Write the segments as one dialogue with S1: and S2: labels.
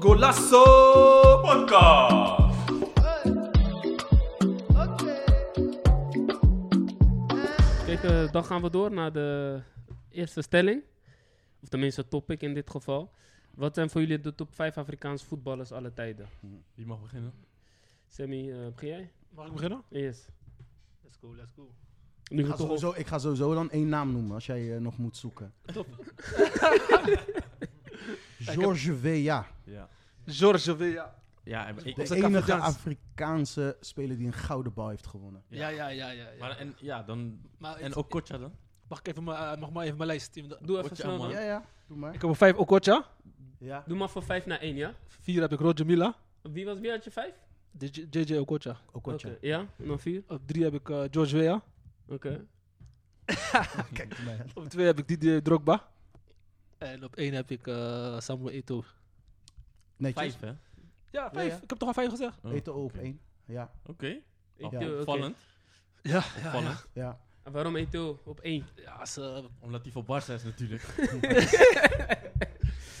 S1: Golasso Podcast.
S2: Kijk, eh, dan gaan we door naar de eerste stelling. Of tenminste, topic in dit geval. Wat zijn voor jullie de top 5 Afrikaanse voetballers alle tijden?
S3: Wie Hm, mag beginnen?
S2: Sammy, eh, begin jij?
S3: Mag ik beginnen?
S2: Yes.
S3: Let's go, let's go.
S2: Nu
S4: Ik
S2: we
S4: ga,
S2: toch
S4: sowieso, ik ga sowieso dan één naam noemen als jij eh, nog moet zoeken. George Weah.
S3: Ja.
S5: George Weah.
S3: Ja, en, ik,
S4: De
S5: Of de
S4: enige
S5: Cafejaans.
S4: Afrikaanse speler die een gouden bal heeft gewonnen.
S5: Ja, ja, ja, ja. ja.
S3: maar, en, ja, dan,
S5: Maar
S3: en
S5: ik-
S3: Okocha dan?
S5: mag ik even mijn, eh, mag maar even mijn lijst zien?
S2: Doe even
S3: Word je
S2: snel,
S3: allemaal-
S2: man.
S4: Ja, ja. Doe maar.
S5: Ik heb op vijf Okocha.
S4: Ja.
S2: Doe maar voor 5 naar 1, ja?
S5: Vier heb ik Roger Mila.
S2: Wie, was, wie had je 5?
S5: DJ JJ Okocha.
S4: Okocha.
S2: Ja, en dan 4?
S5: Op drie heb ik eh, George Weah.
S2: Oké.
S4: Kijk maar.
S5: Op twee heb ik Didier Drogba. En op één heb ik eh, Samuel Eto'o.
S4: Netjes.
S3: Vijf, hè?
S5: Ja,
S4: vijf.
S5: vijf. Ik heb toch al vijf gezegd?
S3: Oh,
S4: Eten op
S3: oké.
S4: één. Ja.
S3: Oké.
S2: Ik
S4: Ja.
S2: doe- oké.
S3: Opvallend.
S5: Ja,
S3: Opvallend.
S4: ja.
S2: En Waarom Eto op 1?
S5: Ja, ze,
S3: Omdat hij voor Barca is natuurlijk.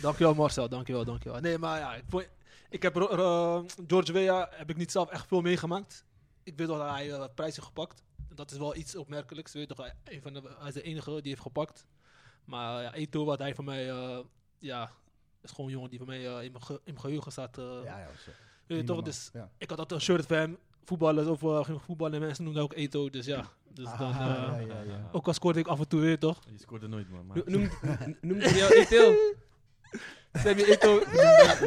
S5: dankjewel Marcel, dankjewel, dankjewel. Nee, maar ja, ik, vond- ik heb Ro- Ro- George Weah heb ik niet zelf echt veel meegemaakt. Ik weet wel dat hij eh, wat prijzen gepakt. Dat is wel iets opmerkelijks. Weet je toch, hij- een van de, hij is de enige die heeft gepakt. Maar ja, Eto, wat hij voor mij, eh, ja, is gewoon een jongen die voor mij eh, in mijn ge- in mijn geheugen staat. eh.
S4: Ja, ja. zo.
S5: weet je
S4: Prima,
S5: toch,
S4: man.
S5: dus
S4: Ja.
S5: ik had altijd een shirt van hem. Voetballers of eh, ging voetballen en mensen noemden ook Eto, dus ja. Dus dan,
S4: Ah,
S5: eh,
S4: ja, ja, ja.
S5: Ook al scoorde ik af en toe weer, toch?
S3: Je scoorde nooit, man. Maar...
S2: Noem, noem, noem jou Eto.
S5: Sammy Eto,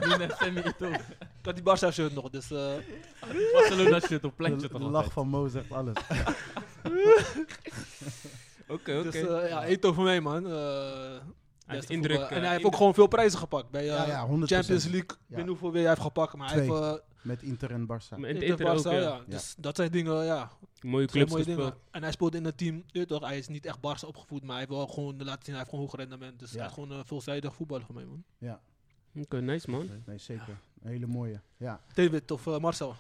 S3: Noem net Sammy Eto'o.
S5: ik had die Barca shirt nog, dus... eh,
S3: Barcelona shit op plantje
S4: De,
S3: toch
S4: de lach
S3: altijd.
S4: van Mo zegt alles.
S2: Oké, oké.
S5: Dus eh, ja, Eto voor mij, man. Eh,
S2: Hij heeft
S5: beste
S2: indruk,
S5: voetballer. en
S2: eh,
S5: hij heeft
S2: indruk.
S5: ook gewoon veel prijzen gepakt. Bij eh,
S4: Ja, ja, 100%.
S5: Champions League, ik
S4: Ja.
S5: weet niet hoeveel weer hij heeft gepakt. Maar hij
S4: Twee.
S5: heeft eh,
S4: Met Inter en Barça.
S2: En het
S5: Inter,
S2: Inter ook,
S5: Barca,
S2: ja.
S5: ja. Dus dat zijn dingen, ja.
S2: Mooie
S5: Twee
S2: clubs
S5: mooie
S2: gespeeld.
S5: dingen. En hij speelde in het team, je weet toch, hij is niet echt Barca opgevoed. Maar hij heeft wel gewoon laten zien, hij heeft gewoon hoog rendement. Dus
S4: Ja.
S5: hij is gewoon eh, veelzijdig voetballer voor mij, man.
S2: Oké, nice, man.
S4: Nee, zeker. Een hele mooie. Ja.
S5: David of eh, Marcel.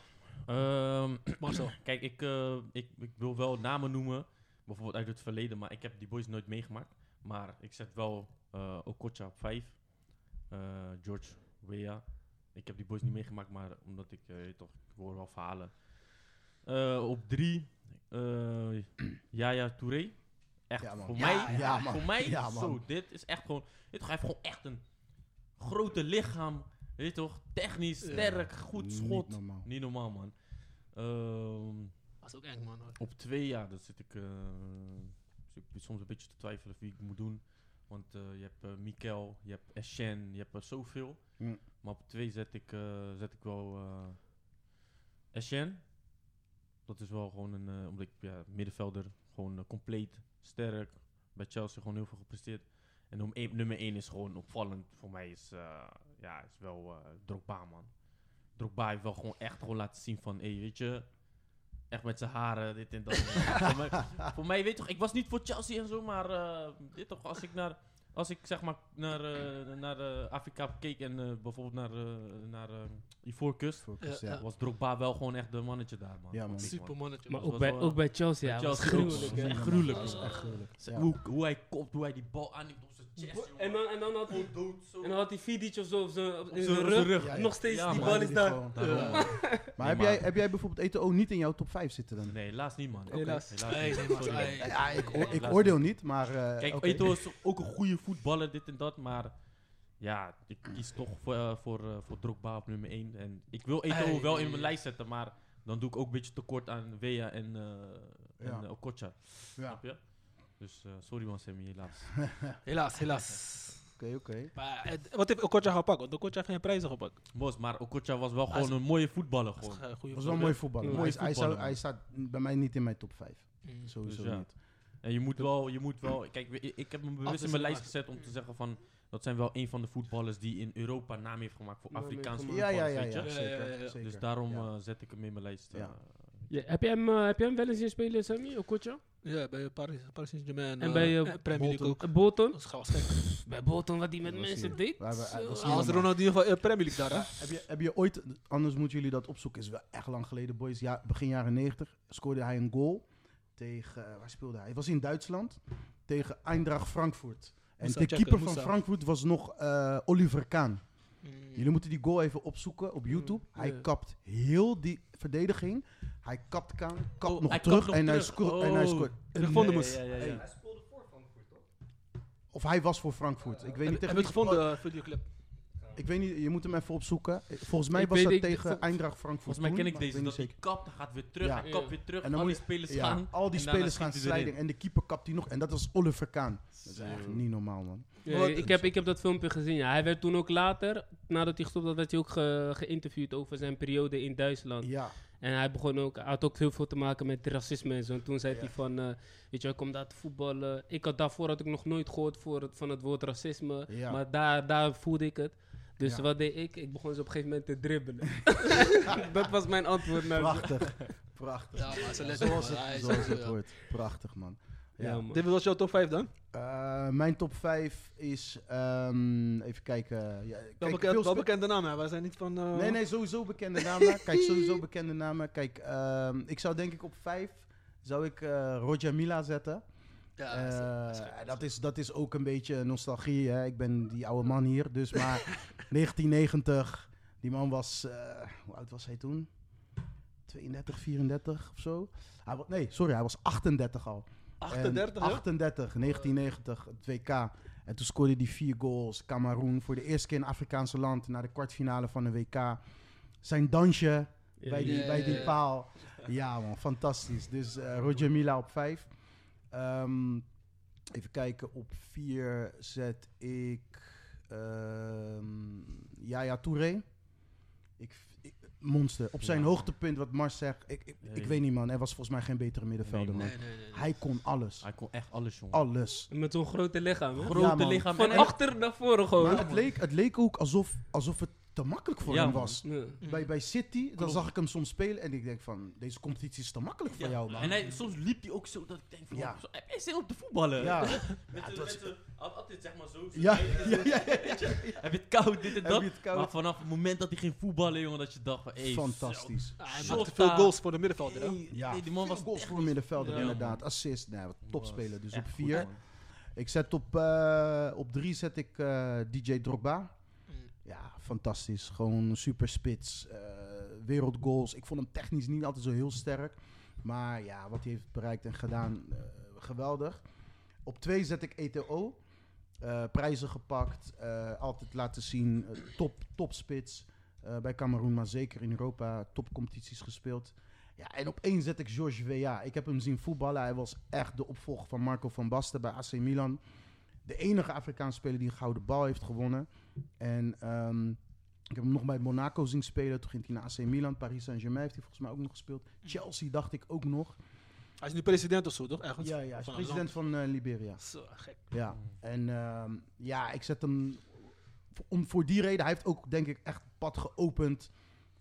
S3: Ehm,
S5: Marcel.
S3: kijk, ik, eh, ik, ik wil wel namen noemen. Bijvoorbeeld uit het verleden, maar ik heb die boys nooit meegemaakt. Maar ik zet wel eh Okocha op vijf. Eh, George Weah. Ik heb die boys niet meegemaakt, maar omdat ik eh, toch ik hoor wel verhalen. Eh, op drie, eh Yaya Touré. Echt,
S4: Ja, man.
S3: voor
S4: Ja,
S3: mij,
S4: ja, ja, man.
S3: Voor mij
S4: Ja, man.
S3: zo, dit is echt gewoon, dit hij heeft gewoon echt een grote lichaam, weet je toch, technisch,
S5: Ja.
S3: sterk, goed schot.
S4: Niet normaal.
S3: Niet normaal, man. Ehm,
S5: Dat is ook eng, man. hoor.
S3: op twee jaar, dat zit ik, eh, zit ik soms een beetje te twijfelen wie ik moet doen. Want eh, je hebt eh Mikel, je hebt Eschen, je hebt er zoveel.
S4: Mm.
S3: Maar op twee zet ik, eh, zet ik wel eh Eschen. Dat is wel gewoon een, eh, omdat ik ja, middenvelder, gewoon eh, compleet, sterk. Bij Chelsea gewoon heel veel gepresteerd. En om één- nummer 1 is gewoon opvallend voor mij is, eh, ja, is wel eh Drogba, man. Drogba heeft wel gewoon echt gewoon laten zien van, hé, weet je, echt met zijn haren, dit en dat. voor, mij, voor mij, weet je toch, ik was niet voor Chelsea en zo, maar eh, dit toch, als ik naar, als ik zeg maar naar, eh, naar eh, Afrika keek en eh, bijvoorbeeld naar, eh, naar eh, Ivoorkust,
S4: Voor Chris,
S5: Ja,
S4: ja.
S5: ja.
S3: was Drogba wel gewoon echt de mannetje daar, man.
S4: Ja, man.
S3: Echt,
S5: Super mannetje.
S2: Maar
S3: was
S2: ook bij,
S3: wel, eh,
S2: ook bij Chelsea,
S3: bij
S2: ja. was
S3: Chelsea ook,
S2: gruwelijk,
S3: man.
S2: hè.
S3: Echt gruwelijk,
S4: Dat is
S3: man.
S4: echt gruwelijk.
S3: Z-
S4: Ja.
S3: Hoe, hoe hij kopt, hoe hij die bal aanneemt op zijn chest, jongen.
S2: En dan, en dan had hij...
S3: Gewoon dood, zo.
S2: En dan had hij Vidic of zo op zijn op-
S3: Op
S2: in
S3: zijn-
S2: zijn
S3: op zijn
S2: rug.
S3: rug.
S4: Ja, ja.
S2: Nog steeds,
S3: Ja,
S2: die
S3: man.
S2: bal is daar.
S4: Gewoon.
S3: Daarom,
S5: Ja.
S3: man.
S4: Maar,
S3: Nee,
S4: heb, jij,
S3: maar-
S4: heb jij bijvoorbeeld Eto'o niet in jouw top 5 zitten dan?
S3: Nee, helaas niet, man.
S2: Helaas.
S5: Nee, nee, maar-
S3: Sorry, man.
S5: nee.
S4: Ja, ik, oor- ik
S3: Helaas
S4: oordeel
S3: niet.
S4: niet, maar... eh,
S3: Kijk,
S4: oké.
S5: E
S3: Eto'o is ook een goede voetballer, dit en dat, maar ja, ik kies toch voor, eh, voor, eh, voor Drogba op nummer 1. En ik wil Eto'o
S5: Ei.
S3: wel in mijn lijst zetten, maar dan doe ik ook een beetje tekort aan Wea en, eh
S4: Ja.
S3: en eh, Okocha,
S4: Ja,
S3: snap je? Dus eh, sorry man, Sammy, helaas.
S5: Helaas, helaas.
S4: oké, oké.
S5: Maar, eh, wat heeft Okocha gepakt? Want Okocha heeft geen prijzen gepakt.
S3: Mos, maar Okocha was wel
S5: Hij is-
S3: gewoon een mooie voetballer.
S5: Dat is
S3: Gewoon.
S5: een goede
S4: was wel een mooi voetballer.
S2: Ja,
S4: maar
S3: mooi
S4: hij, hij zou-
S3: voetballer.
S4: hij staat bij mij niet in mijn top 5.
S5: Mm.
S4: Sowieso
S3: Dus ja.
S4: niet.
S3: En je moet wel, je moet wel, kijk, we- ik heb hem bewust in
S5: Afwisseling
S3: mijn lijst
S5: maken.
S3: gezet om te zeggen van, dat zijn wel een van de voetballers die in Europa naam heeft gemaakt voor
S2: Naam heeft
S3: Afrikaanse
S2: gemaakt.
S4: Ja,
S3: voetballers,
S4: ja, ja,
S3: weet je?
S4: ja,
S5: je? Ja, ja, ja, ja.
S4: zeker.
S3: Dus daarom
S4: ja.
S3: eh, zet ik hem in mijn lijst. eh,
S4: Ja.
S2: Ja, heb, jij hem, eh, heb jij hem wel eens zien spelen, Sammy? Okocha?
S5: Ja, bij Paris, Paris Saint-Germain.
S2: En
S5: eh,
S2: bij, eh,
S5: en Premier League ook.
S2: Eh, Bolton?
S5: Dat is gauw gek.
S2: Bij Bolton, wat hij met
S4: Dat was
S2: mensen
S4: niet-
S2: deed?
S4: we hebben-
S2: Zo.
S4: dat was niet-
S5: Als
S4: man.
S5: Ronaldinho van eh, Premier League daar, hè?
S4: Heb je, heb je ooit, anders moeten jullie dat opzoeken, is wel echt lang geleden, boys. Ja, begin jaren 90 scoorde hij een goal tegen... eh, Waar speelde hij? Hij was in Duitsland tegen Eindracht Frankfurt. En
S5: Moest dat
S4: de
S5: checken,
S4: keeper
S5: moest
S4: van
S5: dat.
S4: Frankfurt was nog eh, Oliver Kaan.
S5: Mm.
S4: Jullie moeten die goal even opzoeken op YouTube.
S2: Mm,
S4: Hij
S2: ja.
S4: kapt heel die verdediging. Hij kapt Kaan, kapt
S3: Oh,
S4: nog
S3: hij kapt
S4: terug
S3: nog
S4: en, Hij
S3: terug.
S4: scoort, en hij
S3: Oh.
S4: scoort.
S5: Terug van de moes.
S3: Ja, ja, ja, ja.
S4: Hey. Of hij was voor Frankfurt. Ik weet niet
S5: Heb heb je
S4: echt
S5: het
S4: wie- Oh,
S5: gevonden, eh, videoclip?
S4: Ik weet niet, je moet hem even opzoeken. Volgens mij
S2: Ik
S4: was
S2: weet
S4: dat
S2: niet,
S4: tegen
S2: vol-
S4: Eindracht Frankfurt.
S3: Volgens mij
S4: toen,
S3: ken ik
S4: maar
S3: deze.
S4: weet
S3: Dat
S4: niet
S3: hij
S4: zeker.
S3: kapt, dan gaat weer terug,
S4: Ja.
S3: hij kapt weer terug.
S4: En
S3: En
S4: dan
S3: dan al
S4: moet
S3: die
S4: je-
S3: spelers
S4: Ja,
S3: gaan.
S4: al die
S3: en daarna
S4: spelers gaan
S3: schiet hij erin.
S4: strijden en de keeper kapt hij nog. En dat was Oliver Kaan. Dat is
S3: Zo.
S4: echt niet normaal, man.
S2: Ja,
S5: Wat-
S2: ik, heb, ik heb dat filmpje gezien. Ja. Hij werd toen ook later, nadat hij gestopt had, werd hij ook ge- geïnterviewd over zijn periode in Duitsland.
S4: Ja,
S2: En hij begon ook, hij had ook heel veel te maken met racisme en zo. En toen zei
S4: Ja.
S2: hij van, eh, weet je, wel, ik kom daar te voetballen. Ik had daarvoor had ik nog nooit gehoord voor het, van het woord racisme.
S4: Ja.
S2: Maar daar, daar voelde ik het. Dus
S4: Ja.
S2: wat deed ik? Ik begon ze op een gegeven moment te dribbelen. dat was mijn antwoord naar ze.
S4: prachtig. prachtig.
S5: Ja, maar ze letten
S4: Zoals
S5: man. Hij
S4: het,
S5: is
S4: zoals
S5: zo,
S3: eh,
S4: het
S5: ja.
S4: hoort. Prachtig, man.
S2: Ja,
S4: Ja.
S2: man.
S5: Dit was jouw top 5 dan?
S4: Eh, mijn top 5 is... ehm, even kijken. Ja,
S5: Wel
S4: kijk,
S5: bekend-
S4: veel
S5: wel
S4: spe-
S5: bekende naam, hè? Wij zijn niet van... eh,
S4: Nee, nee, sowieso bekende namen. Kijk, sowieso bekende namen. Kijk, ehm, ik zou denk ik op vijf zou ik eh, Roger Mila zetten.
S5: Ja,
S4: Eh,
S5: dat is- dat is gek.
S4: dat, is, dat is ook een beetje nostalgie. Hè? Ik ben die oude man hier, dus maar 1990. Die man was, eh, hoe oud was hij toen? 32, 34 of zo? Hij, wa- nee, sorry, hij was 38 al.
S5: 38,
S4: En
S5: hè?
S4: 38, 1990, het WK. En toen scoorde hij vier goals. Cameroen voor de eerste keer in Afrikaanse land naar de kwartfinale van een WK. Zijn dansje
S2: Ja,
S4: bij, die,
S5: ja,
S4: bij
S5: ja,
S4: die
S5: ja.
S4: paal. Ja man, fantastisch. Dus eh, Roger Mila op vijf. Ehm, even kijken, op vier zet ik ehm Yaya Touré. Ik, ik- monster. Op zijn
S3: Ja.
S4: hoogtepunt, wat Mars zegt. Ik, ik,
S3: Ja,
S4: ik
S3: je-
S4: weet niet man, er was volgens mij geen betere middenvelder
S3: Nee,
S4: man.
S5: Nee, nee, nee. nee.
S4: Hij kon alles.
S3: Hij kon echt alles, jongen.
S4: Alles.
S2: Met zo'n grote lichaam. hè?
S4: Ja,
S3: Grote
S4: man.
S3: lichaam.
S2: Van
S3: en-
S2: achter naar voren gewoon.
S4: Maar het leek, het leek ook alsof, alsof het te makkelijk voor
S3: Oh. Ja,
S4: hem
S3: man.
S4: was.
S2: Ja. Ah,
S5: Mm.
S4: Bij, bij City, dan
S3: Klopt.
S4: zag ik hem soms spelen en ik denk van, deze competitie is te makkelijk voor
S3: Ja,
S4: jou man.
S3: En hij, soms liep hij ook zo dat ik denk van,
S4: Ja.
S3: ja. hij is heel op te voetballen.
S4: Ja.
S3: Met de- met de- al- altijd zeg maar zo. zo
S4: Ja,
S3: eh,
S4: ja, ja,
S3: Heb je het koud, dit en
S4: Heb
S3: dat.
S4: je het koud?
S3: Maar vanaf het moment dat hij ging voetballen, jongen, dat je dacht van, hey,
S4: Fantastisch.
S5: Ah, Hij
S3: Shota.
S5: maakte veel goals voor de
S3: zo.
S5: middenvelder, hè?
S3: Hey,
S4: Ja,
S3: hey, die man was
S4: goals voor een middenvelder
S3: Ja,
S4: inderdaad. Assist, nee, wat topspeler. Dus op
S3: echt
S4: vier.
S3: goed, man.
S4: ik zet op, eh, op drie zet ik eh, DJ Drogba.
S5: Mm.
S4: Ja, fantastisch. Gewoon super spits. eh, wereldgoals. Ik vond hem technisch niet altijd zo heel sterk. Maar ja, wat hij heeft bereikt en gedaan, eh, geweldig. Op twee zet ik ETO. Eh, prijzen gepakt. eh, altijd laten zien. eh, top, top spits. eh, bij Cameroen, maar zeker in Europa. Topcompetities gespeeld. Ja, en op één zet ik George Weah. Ik heb hem zien voetballen. Hij was echt de opvolger van Marco van Basten bij AC Milan. De enige Afrikaanse speler die een gouden bal heeft gewonnen. En ehm, ik heb hem nog bij Monaco zien spelen. Toen ging hij naar AC Milan. Paris Saint-Germain heeft hij volgens mij ook nog gespeeld. Chelsea dacht ik ook nog.
S5: Hij is nu president of zo, toch? Ergens?
S4: Ja, ja hij is
S5: Van
S4: president van eh, Liberia.
S5: Engeland. Zo, gek.
S4: Ja. En ehm, ja, ik zet hem voor- om, voor die reden. Hij heeft ook denk ik echt het pad geopend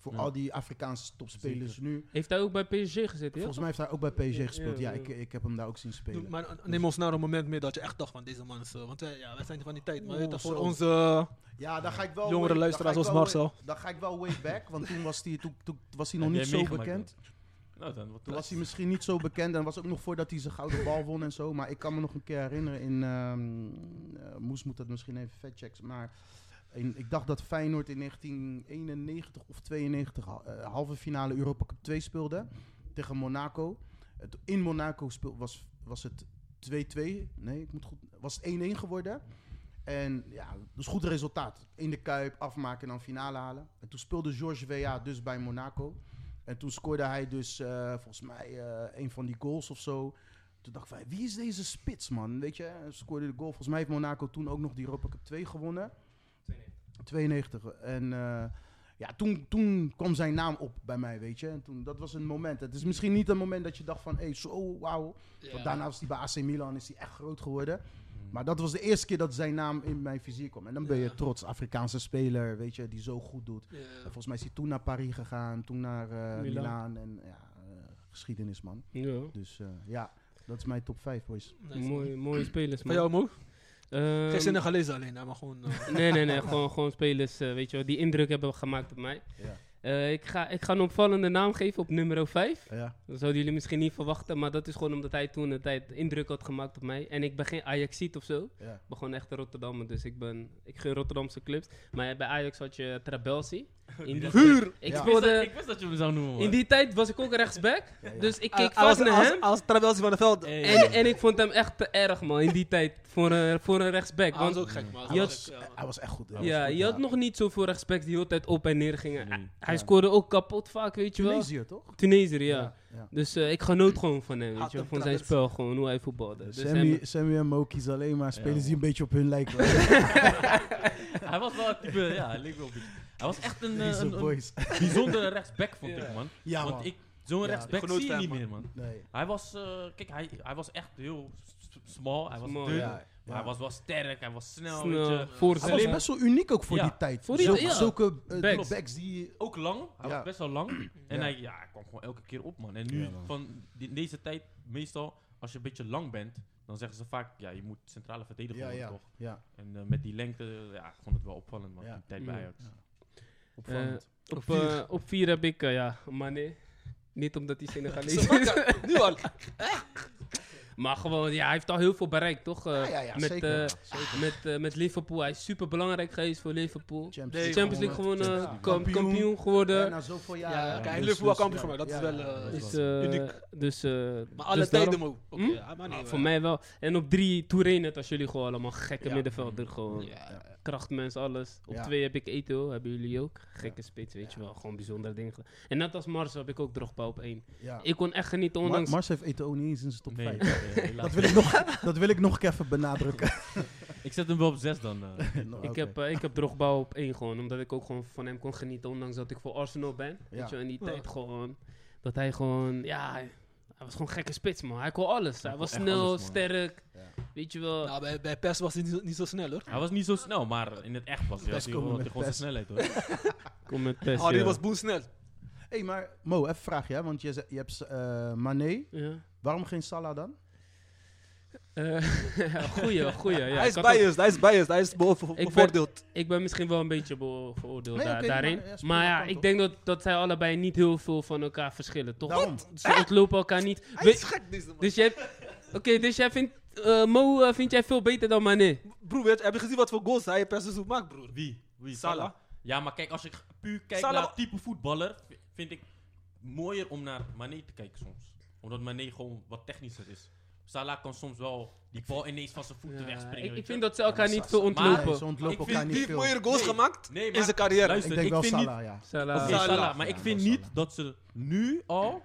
S4: voor
S3: Ja.
S4: al die Afrikaanse topspelers nu.
S2: Heeft hij ook bij PSG gezeten? Ja?
S4: Volgens mij heeft hij ook bij PSG gespeeld. Ja,
S2: Ja, ja.
S4: ik, ik heb hem daar ook zien spelen.
S5: Maar eh, neem ons naar een moment mee dat je echt dacht van deze man is... eh, want eh, ja, wij zijn van die tijd. Maar weet je,
S4: Oh,
S5: voor
S4: zo.
S5: onze... eh,
S4: Ja, daar ga ik wel.
S5: Jongere
S4: way- daar
S5: luisteraars
S4: ga ik
S5: als
S4: wel
S5: Marcel.
S4: way- Daar ga ik wel way back, want toen was hij, toen, toen was hij nog
S3: Heb
S4: niet
S3: jij
S4: zo
S3: meegemaakt
S4: bekend.
S3: dat? Nou dan, wat
S4: Toen was hij misschien niet zo bekend en was ook nog voordat hij zijn gouden bal won en zo. Maar ik kan me nog een keer herinneren in... ehm, eh, Moes moet dat misschien even vetchecken, maar... in- ik dacht dat Feyenoord in 1991 of 92 ha- eh, halve finale Europa Cup 2 speelde tegen Monaco. Het- in Monaco speel, was, was het 2-2. Nee, ik moet goed. Was het 1-1 geworden. En ja, dus goed resultaat. In de Kuip, afmaken en dan finale halen. En toen speelde Georges Weah dus bij Monaco. En toen scoorde hij dus eh, volgens mij eh, een van die goals of zo. Toen dacht ik van, wie is deze spits, man? Weet je, hij scoorde de goal. Volgens mij heeft Monaco toen ook nog die Europa Cup 2 gewonnen. 92. En eh, ja, toen, toen kwam zijn naam op bij mij, weet je. En toen, dat was een moment. Het is misschien niet een moment dat je dacht van, hé, hey, zo, wauw. Want daarna was hij bij AC Milan, is hij echt groot geworden. Maar dat was de eerste keer dat zijn naam in mijn vizier kwam. En dan ben je
S5: Ja.
S4: trots, Afrikaanse speler, weet je, die zo goed doet.
S5: Ja.
S4: En Eh, volgens mij is hij toen naar Paris gegaan, toen naar eh
S2: Milaan.
S4: Milaan. En ja, eh, geschiedenis, man.
S2: Ja.
S4: Dus eh, ja, dat is mijn top 5, boys.
S5: Nice, man.
S2: Mooie, mooie spelers,
S5: Van
S2: man.
S5: jou, Mo?
S2: Ehm,
S5: Geen zinnen gelezen alleen, hè, maar gewoon... eh,
S2: Nee, nee, nee. gewoon, gewoon spelers, eh, weet je wel, die indruk hebben gemaakt op mij.
S4: Ja.
S2: Eh, ik, ga, ik ga een opvallende naam geven op nummer 5.
S4: Ja.
S2: Dat zouden jullie misschien niet verwachten, maar dat is gewoon omdat hij toen een tijd indruk had gemaakt op mij. En ik ben geen Ajaxiet of zo.
S4: ja.
S2: Ik ben gewoon echt een Rotterdammer, dus ik, ben, ik gun Rotterdamse clubs. Maar bij Ajax had je Trabelsi. In die
S5: Vuur!
S2: Ik
S4: Ja.
S2: speelde...
S3: Ik wist dat je hem zou noemen.
S2: In die tijd was ik ook rechtsback, dus ik keek
S5: als,
S2: vast naar
S5: ah, als,
S2: hem.
S5: Als Trabelsi van de Veld.
S3: Hey.
S2: En, en ik vond hem echt te erg, man, in die tijd, voor een, voor een rechtsback.
S5: Hij was
S2: Want
S5: ook gek, man.
S2: Je
S5: Hij was
S2: had-
S5: gek, ja, man.
S4: Hij was echt goed. Hij
S2: eh, ja,
S4: was goed,
S2: je had nog niet zoveel rechtsbacks die de hele tijd op en neer gingen.
S3: Nee.
S2: Hij
S4: Ja.
S2: scoorde ook kapot vaak, weet je wel.
S4: Tunesiër, toch?
S2: Tunesier, ja.
S4: ja.
S2: Dus eh, ik genoot gewoon van hem, weet
S5: Had
S2: je wel,
S5: hem
S2: van zijn
S5: trouwens.
S2: spel, gewoon hoe hij voetbalde. Dus
S4: Sammy,
S2: hem-
S4: Sammy en Mo kiezen alleen maar spelers
S3: Ja,
S4: die een
S3: man.
S4: beetje op hun lijken. Deze
S3: Hij was wel een type, ja, hij leek wel op iets. Hij was echt een, eh, een, een
S4: boys.
S3: bijzondere rechtsback, vond
S5: Ja.
S3: ik, man.
S4: Ja,
S3: Want
S4: man.
S3: ik, zo'n
S4: Ja,
S5: ik
S3: rechtsback
S5: genoot
S3: zie je
S5: van
S3: niet
S5: hem,
S3: meer, man.
S4: Nee.
S3: Hij was, eh, kijk, hij, hij was echt heel s- s- smal, hij was
S2: Smal,
S3: dun,
S2: ja.
S3: maar hij was wel sterk, hij was snel,
S2: snel,
S3: weet je.
S2: voor
S4: Hij
S2: zijn-
S4: was best wel uniek ook voor
S3: Ja.
S4: die tijd.
S2: Voor die-
S4: zulke
S2: ja.
S4: zulke eh,
S2: Backs.
S4: backs die...
S3: Ook lang, hij
S4: Ja.
S3: was best wel lang. En
S4: Ja.
S3: hij, ja, hij kwam gewoon elke keer op, man. En nu,
S4: Ja, man.
S3: van die- in deze tijd, meestal, als je een beetje lang bent, dan zeggen ze vaak, ja, je moet centrale verdediger
S4: Ja,
S3: worden,
S4: ja.
S3: toch?
S4: ja.
S3: En eh, met die lengte, ja, ik vond het wel opvallend, man,
S4: Ja.
S3: die tijd
S2: Ja.
S3: bij Ajax.
S4: Ja. Opvallend.
S2: Op, eh, op vier heb ik, eh, ja, Mané. Niet omdat hij
S5: Zo
S2: Senegalees is.
S5: makkelijk, Nu al.
S2: Maar gewoon, ja, hij heeft al heel veel bereikt, toch? Eh,
S4: Ja, ja, ja,
S2: met,
S4: zeker,
S2: eh,
S4: ja, zeker.
S2: Met, eh, met Liverpool. Hij is super belangrijk geweest voor Liverpool.
S5: Nee,
S2: Champions League gewonnen,
S4: Ja. nou,
S2: kam- kampioen, geworden.
S4: na zoveel
S5: Ja,
S4: jaar.
S5: kijk,
S4: Dus-
S5: en Liverpool
S4: dus,
S5: kampioen
S4: ja.
S5: gemaakt. Dat is
S4: Ja,
S5: wel...
S4: ja, ja.
S5: eh,
S3: Dus,
S2: Dus, eh,
S5: uniek.
S2: dus, eh,
S5: Maar alle
S2: dus
S5: tijden,
S2: daarom-
S5: mo. Oké,
S2: Hm?
S5: ja, maar
S2: Ah,
S5: nee, eh,
S2: voor
S5: ja.
S2: mij wel. En op drie, Touré het als jullie gewoon allemaal gekke
S5: Ja.
S2: middenvelder. Gewoon
S5: Ja.
S2: krachtmens, alles. Op
S4: Ja.
S2: twee heb ik Eto, hebben jullie ook. Gekke spits, weet je wel. Gewoon bijzondere dingen. En net als Mars heb ik ook Drogba op één.
S4: Ja.
S2: Ik kon echt genieten,
S4: Mar-
S2: ondanks...
S4: Mars heeft Eto'o niet eens in zijn top
S3: Nee,
S4: 5.
S3: eh, helaas
S4: Dat wil, ik nog, dat wil ik nog even benadrukken.
S3: Ik zet hem wel op 6 dan. eh.
S4: Nou,
S2: Ik
S4: oké.
S2: heb, eh, ik heb Drogba op één gewoon, omdat ik ook gewoon van hem kon genieten, ondanks dat ik voor Arsenal ben.
S4: Ja.
S2: Weet je, wel, in die
S5: Ja.
S2: tijd gewoon, dat hij gewoon, ja, hij hij was gewoon gekke spits, man. Hij kon alles. Hij,
S3: kon
S2: was
S3: echt
S2: snel,
S3: alles, man.
S2: sterk,
S4: Ja.
S2: weet je wel.
S5: Nou, bij, bij Pers was hij niet, zo- niet zo snel, hoor.
S3: Hij was niet zo snel, maar in het echt was hij
S4: Best
S3: had hij
S4: komen
S3: wel
S4: met
S3: gewoon zijn
S4: best.
S3: snelheid hoor.
S2: Kom met Pes,
S5: Harry
S2: ja.
S5: Oh, was boel snel.
S4: hey, maar Mo, even een vraagje. hè, Want je, ze- je hebt eh Mané.
S2: Ja.
S4: Waarom geen Salah dan?
S2: Eh, goeie, goeie. Ja.
S5: hij
S2: Ik
S5: is
S2: had ook-
S5: biased, hij is biased, hij is beoor-
S2: ben-
S5: bevoordeeld.
S2: Ik ben misschien wel een beetje beo- veroordeeld
S4: Nee,
S2: da-
S4: oké,
S2: daarin.
S4: maar,
S2: Maar,
S4: ja,
S2: ja,
S4: speel dat kant
S2: ik
S4: op.
S2: denk dat, dat zij allebei niet heel veel van elkaar verschillen, toch?
S4: Daarom.
S2: Ze ontlopen elkaar niet.
S5: Hij
S2: We-
S5: is gek, deze man.
S2: dus jij, oké, dus jij vindt, eh, Mo eh, vind jij veel beter dan Mané?
S5: Broer, weet, je, heb je gezien wat voor goals hij per seizoen maakt, broer?
S3: Wie? Wie?
S5: Salah.
S3: Ja, maar kijk, als ik puur kijk
S5: Salah-
S3: naar type voetballer, v- vind ik mooier om naar Mané te kijken soms. Omdat Mané gewoon wat technischer is. Salah kan soms wel die bal ineens van zijn voeten
S2: Ja,
S3: wegspringen.
S2: ik,
S3: weet
S2: ik
S3: je.
S2: vind dat ze elkaar
S4: Ja,
S2: niet
S4: maar
S2: veel
S4: Sa- Nee,
S2: ontlopen.
S4: ze ontlopen
S3: Ik
S4: elkaar
S5: Die
S4: niet
S5: heeft
S4: veel.
S5: mooier goals
S3: Nee.
S5: gemaakt
S3: Nee,
S5: in
S3: maar-
S5: zijn carrière.
S4: Ik
S3: Luister,
S4: denk wel
S3: vind niet-
S4: Salah, ja.
S2: Salah.
S3: Oké,
S5: Salah.
S3: Salah, maar
S4: Ja,
S3: ik vind
S4: wel
S3: niet
S4: Salah.
S3: dat ze nu al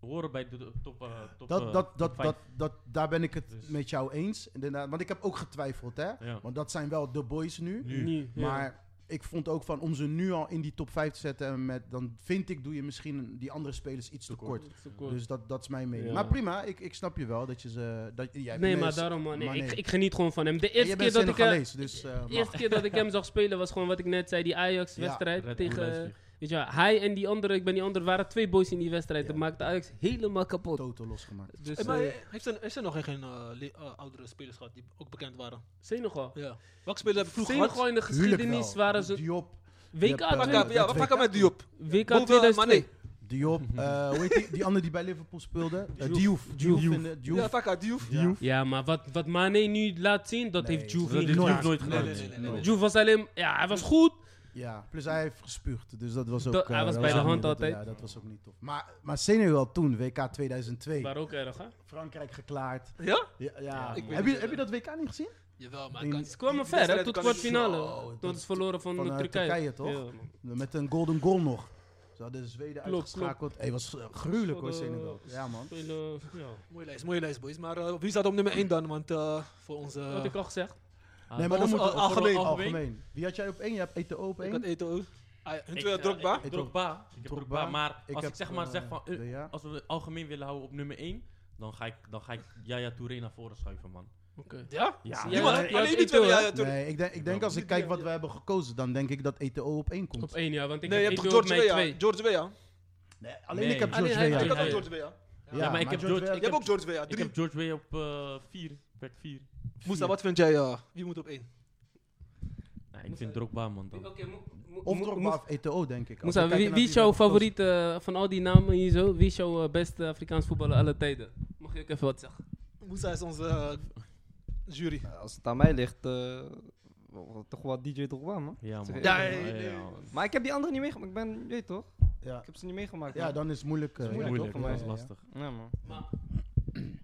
S3: horen bij de de top. eh, top eh,
S4: Dat, dat,
S3: top
S4: dat,
S3: vijf.
S4: dat, dat, daar ben ik het
S3: Dus-
S4: met jou eens. Inderdaad, want ik heb ook getwijfeld, hè.
S3: Ja. Ah,
S4: Want dat zijn wel de boys nu.
S3: Nu.
S2: Nu, ja.
S4: Maar ik vond ook van om ze nu al in die top 5 te zetten, en met, dan vind ik, doe je misschien die andere spelers iets te kort. Dus dat, dat is mijn mening.
S2: Ja.
S4: Maar prima, ik, ik snap je wel dat je ze... Dat, jij hebt
S2: nee, maar
S4: mensen-
S2: daarom, man. Nee,
S4: maar
S2: Ik, ik geniet gewoon van hem. De
S4: En jij
S2: eerste
S4: bent
S2: keer, dat ik, eh,
S4: Senegalees, dus... eh,
S2: de
S4: mag.
S2: eerste keer dat ik hem zag spelen was gewoon wat ik net zei: die Ajax-wedstrijd
S3: Red Bull
S2: tegen.
S3: Leipzig.
S2: Weet je wel, hij en die andere, ik ben die andere, waren twee boys in die wedstrijd.
S4: Ja.
S2: Dat maakte Ajax helemaal kapot.
S4: Toto losgemaakt.
S2: Dus,
S5: Hey, maar
S2: eh,
S5: heeft er, is er nog geen eh, le- eh, oudere spelers gehad die ook bekend waren?
S2: Senegal.
S5: Ja. Welke speler hebben vroeger gehad?
S2: Senegal in de geschiedenis waren ze.
S4: Diop,
S2: WK,
S4: Je hebt, eh,
S2: twee-
S5: Pakka- Ja,
S4: Dat
S5: wat pakken met Diop?
S2: WK
S5: Boven, eh,
S2: 2002.
S5: Mané.
S4: Diop, eh, hoe heet die, die andere die bij Liverpool speelde? Eh, Diouf. Diouf. in de- Diouf.
S5: Ja, Pakka, Diop.
S4: Ja.
S2: Ja, maar wat, wat Mane nu laat zien, dat
S4: Nee,
S2: heeft Juve
S3: Dat
S2: niet
S3: heeft
S4: Nooit.
S3: Juve nooit
S5: Nee,
S3: gedaan.
S5: nee, nee, nee, nee.
S4: Nooit.
S2: Juve was alleen. Ja, hij was goed.
S4: Ja, plus hij heeft gespuugd, dus dat was ook...
S2: Dat-
S4: eh,
S2: hij was
S4: dat
S2: bij de
S4: ook
S2: hand
S4: niet- dat-
S2: altijd.
S4: Ja, dat was ook niet tof. Maar, maar Senegal toen, WK 2002,
S2: Maar ook erg, hè?
S4: Frankrijk geklaard.
S5: Ja?
S4: Ja, ja.
S5: ik weet
S4: heb, je,
S5: het,
S4: heb je
S5: eh,
S4: dat WK niet gezien?
S5: Jawel, maar
S4: In-
S5: kan
S2: Ze kwamen
S5: die
S2: ver, hè,
S5: wedstrijd
S2: tot
S5: kan-
S4: Zo,
S2: kwartfinale. Toen
S4: tot-
S2: is verloren van,
S4: van,
S2: eh,
S4: eh,
S2: Turkije.
S4: Turkije, toch?
S2: Ja, man.
S4: Met een golden goal nog. Ze hadden Zweden
S2: Klopt,
S4: uitgeschakeld. Hé, was eh, gruwelijk hoor,
S2: Ze hadden-
S4: Senegal. Ja, man.
S2: Spelen, ja.
S5: Mooie lijst, mooie lijst, boys. Maar eh, wie staat op nummer 1 dan? Want eh, voor onze...
S2: Dat had ik al gezegd.
S3: Ah,
S4: Nee, maar dan
S5: Of,
S4: moeten we
S5: eh, algemeen.
S4: algemeen. Wie had jij op één? Je hebt Eto'o op
S5: ik
S4: één.
S5: had Eto'o. Ah, ja, Hun
S3: Ik-
S5: twee
S3: ja,
S5: Drogba.
S3: ik- Drogba. Ik heb
S4: Drogba.
S3: Drogba, maar
S4: Ik
S3: als
S4: heb,
S3: ik zeg maar
S4: eh,
S3: zeg van, eh,
S4: De, ja.
S3: als we het algemeen willen houden op nummer 1, dan ga ik, dan ga ik Yaya Touré naar voren schuiven, man.
S5: Ja?
S3: Ja,
S2: Zie
S5: Ja,
S2: jij
S5: maar
S2: dat?
S5: alleen
S2: Je had
S5: die
S2: Eto'o,
S5: twee.
S2: hè?
S5: Ja, ja, tuurlijk.
S4: Nee, ik denk, ik denk als ik kijk wat we hebben gekozen, dan denk ik dat Eto'o op één komt.
S2: Op één jaar, want ik
S5: Nee, je
S2: heb
S5: hebt
S2: Edo op
S5: George
S2: mijn
S5: Weah.
S2: twee.
S5: George Weah.
S4: Nee, alleen
S3: Nee.
S4: ik heb
S2: Alleen
S4: George
S2: hij-
S4: Weah.
S2: hij
S5: Ik had ook
S2: ja.
S5: George Weah.
S4: Ja,
S3: maar ik heb George-
S4: Weah-
S5: Je hebt ook George Weah.
S3: Ik
S5: Drie.
S3: heb George Way op 4, back 4.
S5: Moesa, wat vind jij? eh, Wie moet op 1?
S3: Ja, ik vind Drogba, man. Dan.
S4: Of Drogba of ETO, denk ik. Als
S2: Moesa,
S4: we kijken
S2: wie,
S4: naar
S2: wie is jouw
S4: werd gekozen.
S2: favoriet eh, van al die namen hier zo? Wie is jouw eh, beste Afrikaans voetballer aller tijden? Mag ik even wat zeggen?
S5: Moussa is onze eh, jury.
S6: Als het aan mij ligt, eh, wel- wel toch wel DJ Drogba, man.
S3: Ja, man.
S6: Ja,
S5: ja,
S3: ja,
S4: ja.
S3: man.
S6: Maar ik heb die andere niet meegemaakt. Ik ben, je weet toch?
S4: Ja.
S6: Ik heb ze niet meegemaakt.
S4: ja,
S6: man.
S4: dan is het moeilijk. eh,
S6: Dat is
S4: ja, toch?
S6: moeilijk, voor
S4: Ja,
S6: mij
S3: dat is
S4: ja, ja.
S3: lastig.
S6: Ja, man.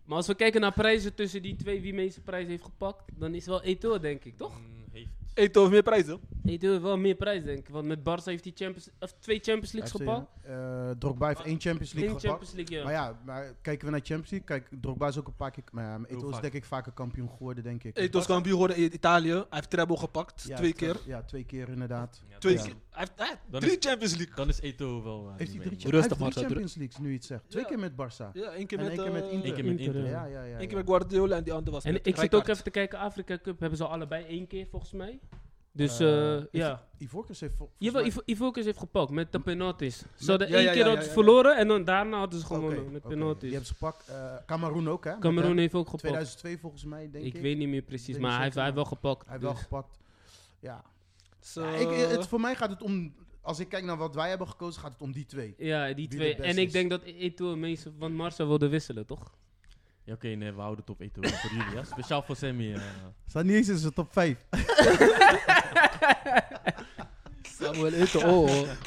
S2: Maar als we kijken naar prijzen tussen die twee, wie de meeste prijs heeft gepakt, dan is wel Eto'o, denk ik, toch?
S3: Mm, Heeft
S5: Eto heeft meer prijzen.
S2: Eto'o heeft wel meer prijs, denk ik. Want met Barça heeft hij Champions, of twee Champions Leagues
S4: FC,
S2: gepakt.
S4: eh, Drogba heeft één Champions
S2: Eén
S4: League gepakt.
S2: Champions League, ja.
S4: Maar ja, maar kijken we naar Champions League, kijk, Drogba is ook een paar keer... Maar ja, maar
S3: Heel
S4: Eto'o is
S3: vaak.
S4: denk ik vaker kampioen geworden, denk ik.
S5: Eto is kampioen geworden in Italië. Hij heeft treble gepakt.
S4: Ja,
S5: twee
S4: tre-
S5: keer.
S4: Ja, twee keer inderdaad.
S5: Twee
S4: ja.
S5: keer. Hij heeft hij heeft
S3: Dan
S5: drie
S3: is-
S5: Champions League.
S3: Dan is Eto wel. eh, niet
S4: Heeft hij
S3: mee,
S4: drie, Cha-
S5: Rustig,
S4: hij heeft drie
S5: Marcel,
S4: Champions Leagues, nu je het zegt. Twee
S5: Ja.
S4: keer met Barça.
S5: Ja, één keer
S4: En
S5: met,
S4: één keer
S5: eh,
S4: met
S3: man. Eén
S4: Inter.
S3: keer met
S2: Inter,
S3: Inter.
S2: ja.
S4: Ja, ja, ja.
S5: Eén
S4: ja.
S5: keer met Guardiola en die andere was
S2: En
S5: met
S2: ik zit ook
S5: Rijkaard.
S2: even te kijken, Afrika Cup hebben ze allebei één keer, volgens mij. Dus
S4: Eh,
S2: eh,
S4: is
S2: ja.
S4: het- Ivorcus heeft... vol- volgens
S2: Jawel,
S4: mij-
S2: Ivo- Ivocaus heeft gepakt met de penalties. Ze hadden
S5: ja,
S2: één
S5: ja,
S2: keer
S5: ja,
S2: hadden ze
S5: ja, ja.
S2: verloren en dan daarna hadden ze gewonnen
S4: Oké,
S2: met
S4: oké.
S2: penalties.
S4: Je hebt ze gepakt. eh Cameroen ook, hè? Met,
S2: Cameroen
S4: eh,
S2: heeft ook gepakt.
S4: 2002 volgens mij, denk
S2: ik,
S4: ik.
S2: weet niet meer precies,
S4: Weet
S2: maar
S4: niet
S2: hij heeft, hij
S4: zeker,
S2: heeft wel gepakt.
S4: Hij heeft wel
S2: dus.
S4: gepakt. Ja.
S5: Zo,
S4: Ja, ik, het, voor mij gaat het om... Als ik kijk naar wat wij hebben gekozen, gaat het om die twee.
S2: Dus, Ja, die
S4: de
S2: twee.
S4: beste
S2: En ik
S4: is.
S2: denk dat Eto'o het meest van Marcel wilde wisselen, toch?
S3: Ja, Oké, nee, we houden het op Eto voor jullie. Ja. Speciaal voor Sammy. eh.
S4: Staat niet eens in de top 5.
S5: Samuel oh. Eto'o.